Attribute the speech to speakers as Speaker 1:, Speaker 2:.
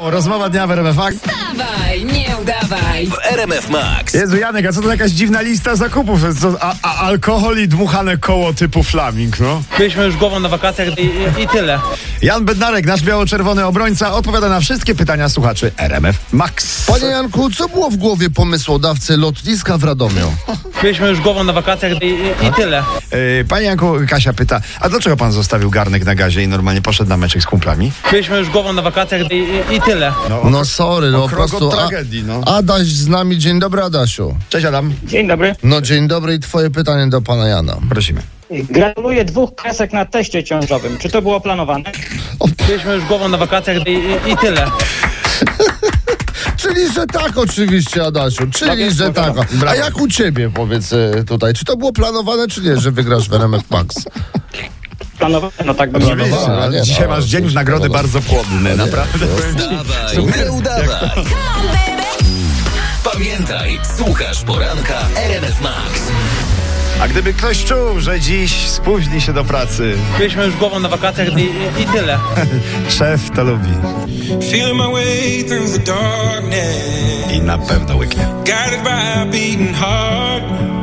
Speaker 1: O, Rozmowa dnia w RMF Max.
Speaker 2: Dawaj, nie udawaj.
Speaker 3: RMF Max.
Speaker 1: Jezu Janek, a co to jakaś dziwna lista zakupów? Co, a, a alkohol i dmuchane koło typu flaming, no?
Speaker 4: Byliśmy już głową na wakacjach i, i, i tyle.
Speaker 1: Jan Bednarek, nasz biało-czerwony obrońca, odpowiada na wszystkie pytania słuchaczy RMF Max.
Speaker 5: Panie Janku, co było w głowie pomysłodawcy lotniska w Radomiu?
Speaker 4: Byliśmy już głową na wakacjach i, i, i tyle.
Speaker 1: Yy, panie Janku, Kasia pyta, a dlaczego pan zostawił garnek na gazie i normalnie poszedł na meczek z kumplami?
Speaker 4: Byliśmy już głową na wakacjach i, i, i tyle.
Speaker 1: No,
Speaker 5: No sorry, no po
Speaker 1: Okrog od
Speaker 5: prostu... A,
Speaker 1: tragedii, no.
Speaker 5: Adaś z nami, dzień dobry Adasiu.
Speaker 1: Cześć Adam,
Speaker 6: Dzień dobry.
Speaker 5: No dzień dobry i twoje pytanie do pana Jana.
Speaker 1: prosimy.
Speaker 6: Gratuluję dwóch kresek na teście ciążowym. Czy to było planowane?
Speaker 4: Byliśmy już głową na wakacjach i, i, i tyle.
Speaker 5: Czyli, że tak oczywiście Adasiu, czyli, że tak. A jak u ciebie powiedz e, tutaj, czy to było planowane, czy nie, że wygrasz w RMF Max?
Speaker 6: Planowane, no tak bym nie
Speaker 5: Planowane.
Speaker 6: wiedział.
Speaker 1: Oczywiście, ale
Speaker 5: nie, no,
Speaker 1: dzisiaj masz dzień w
Speaker 5: oczywiście,
Speaker 1: nagrody
Speaker 5: no, no.
Speaker 1: bardzo płodny, naprawdę. powiem ci.
Speaker 3: Dawaj, nie udawaj. Pamiętaj, słuchasz poranka RMF Max.
Speaker 1: A gdyby ktoś czuł, że dziś spóźni się do pracy,
Speaker 4: Byliśmy już głową na wakacjach i, i, i tyle.
Speaker 1: szef to lubi
Speaker 7: Feeling my way through the darkness,
Speaker 1: i na pewno łyknie.
Speaker 7: guided by a beating heart.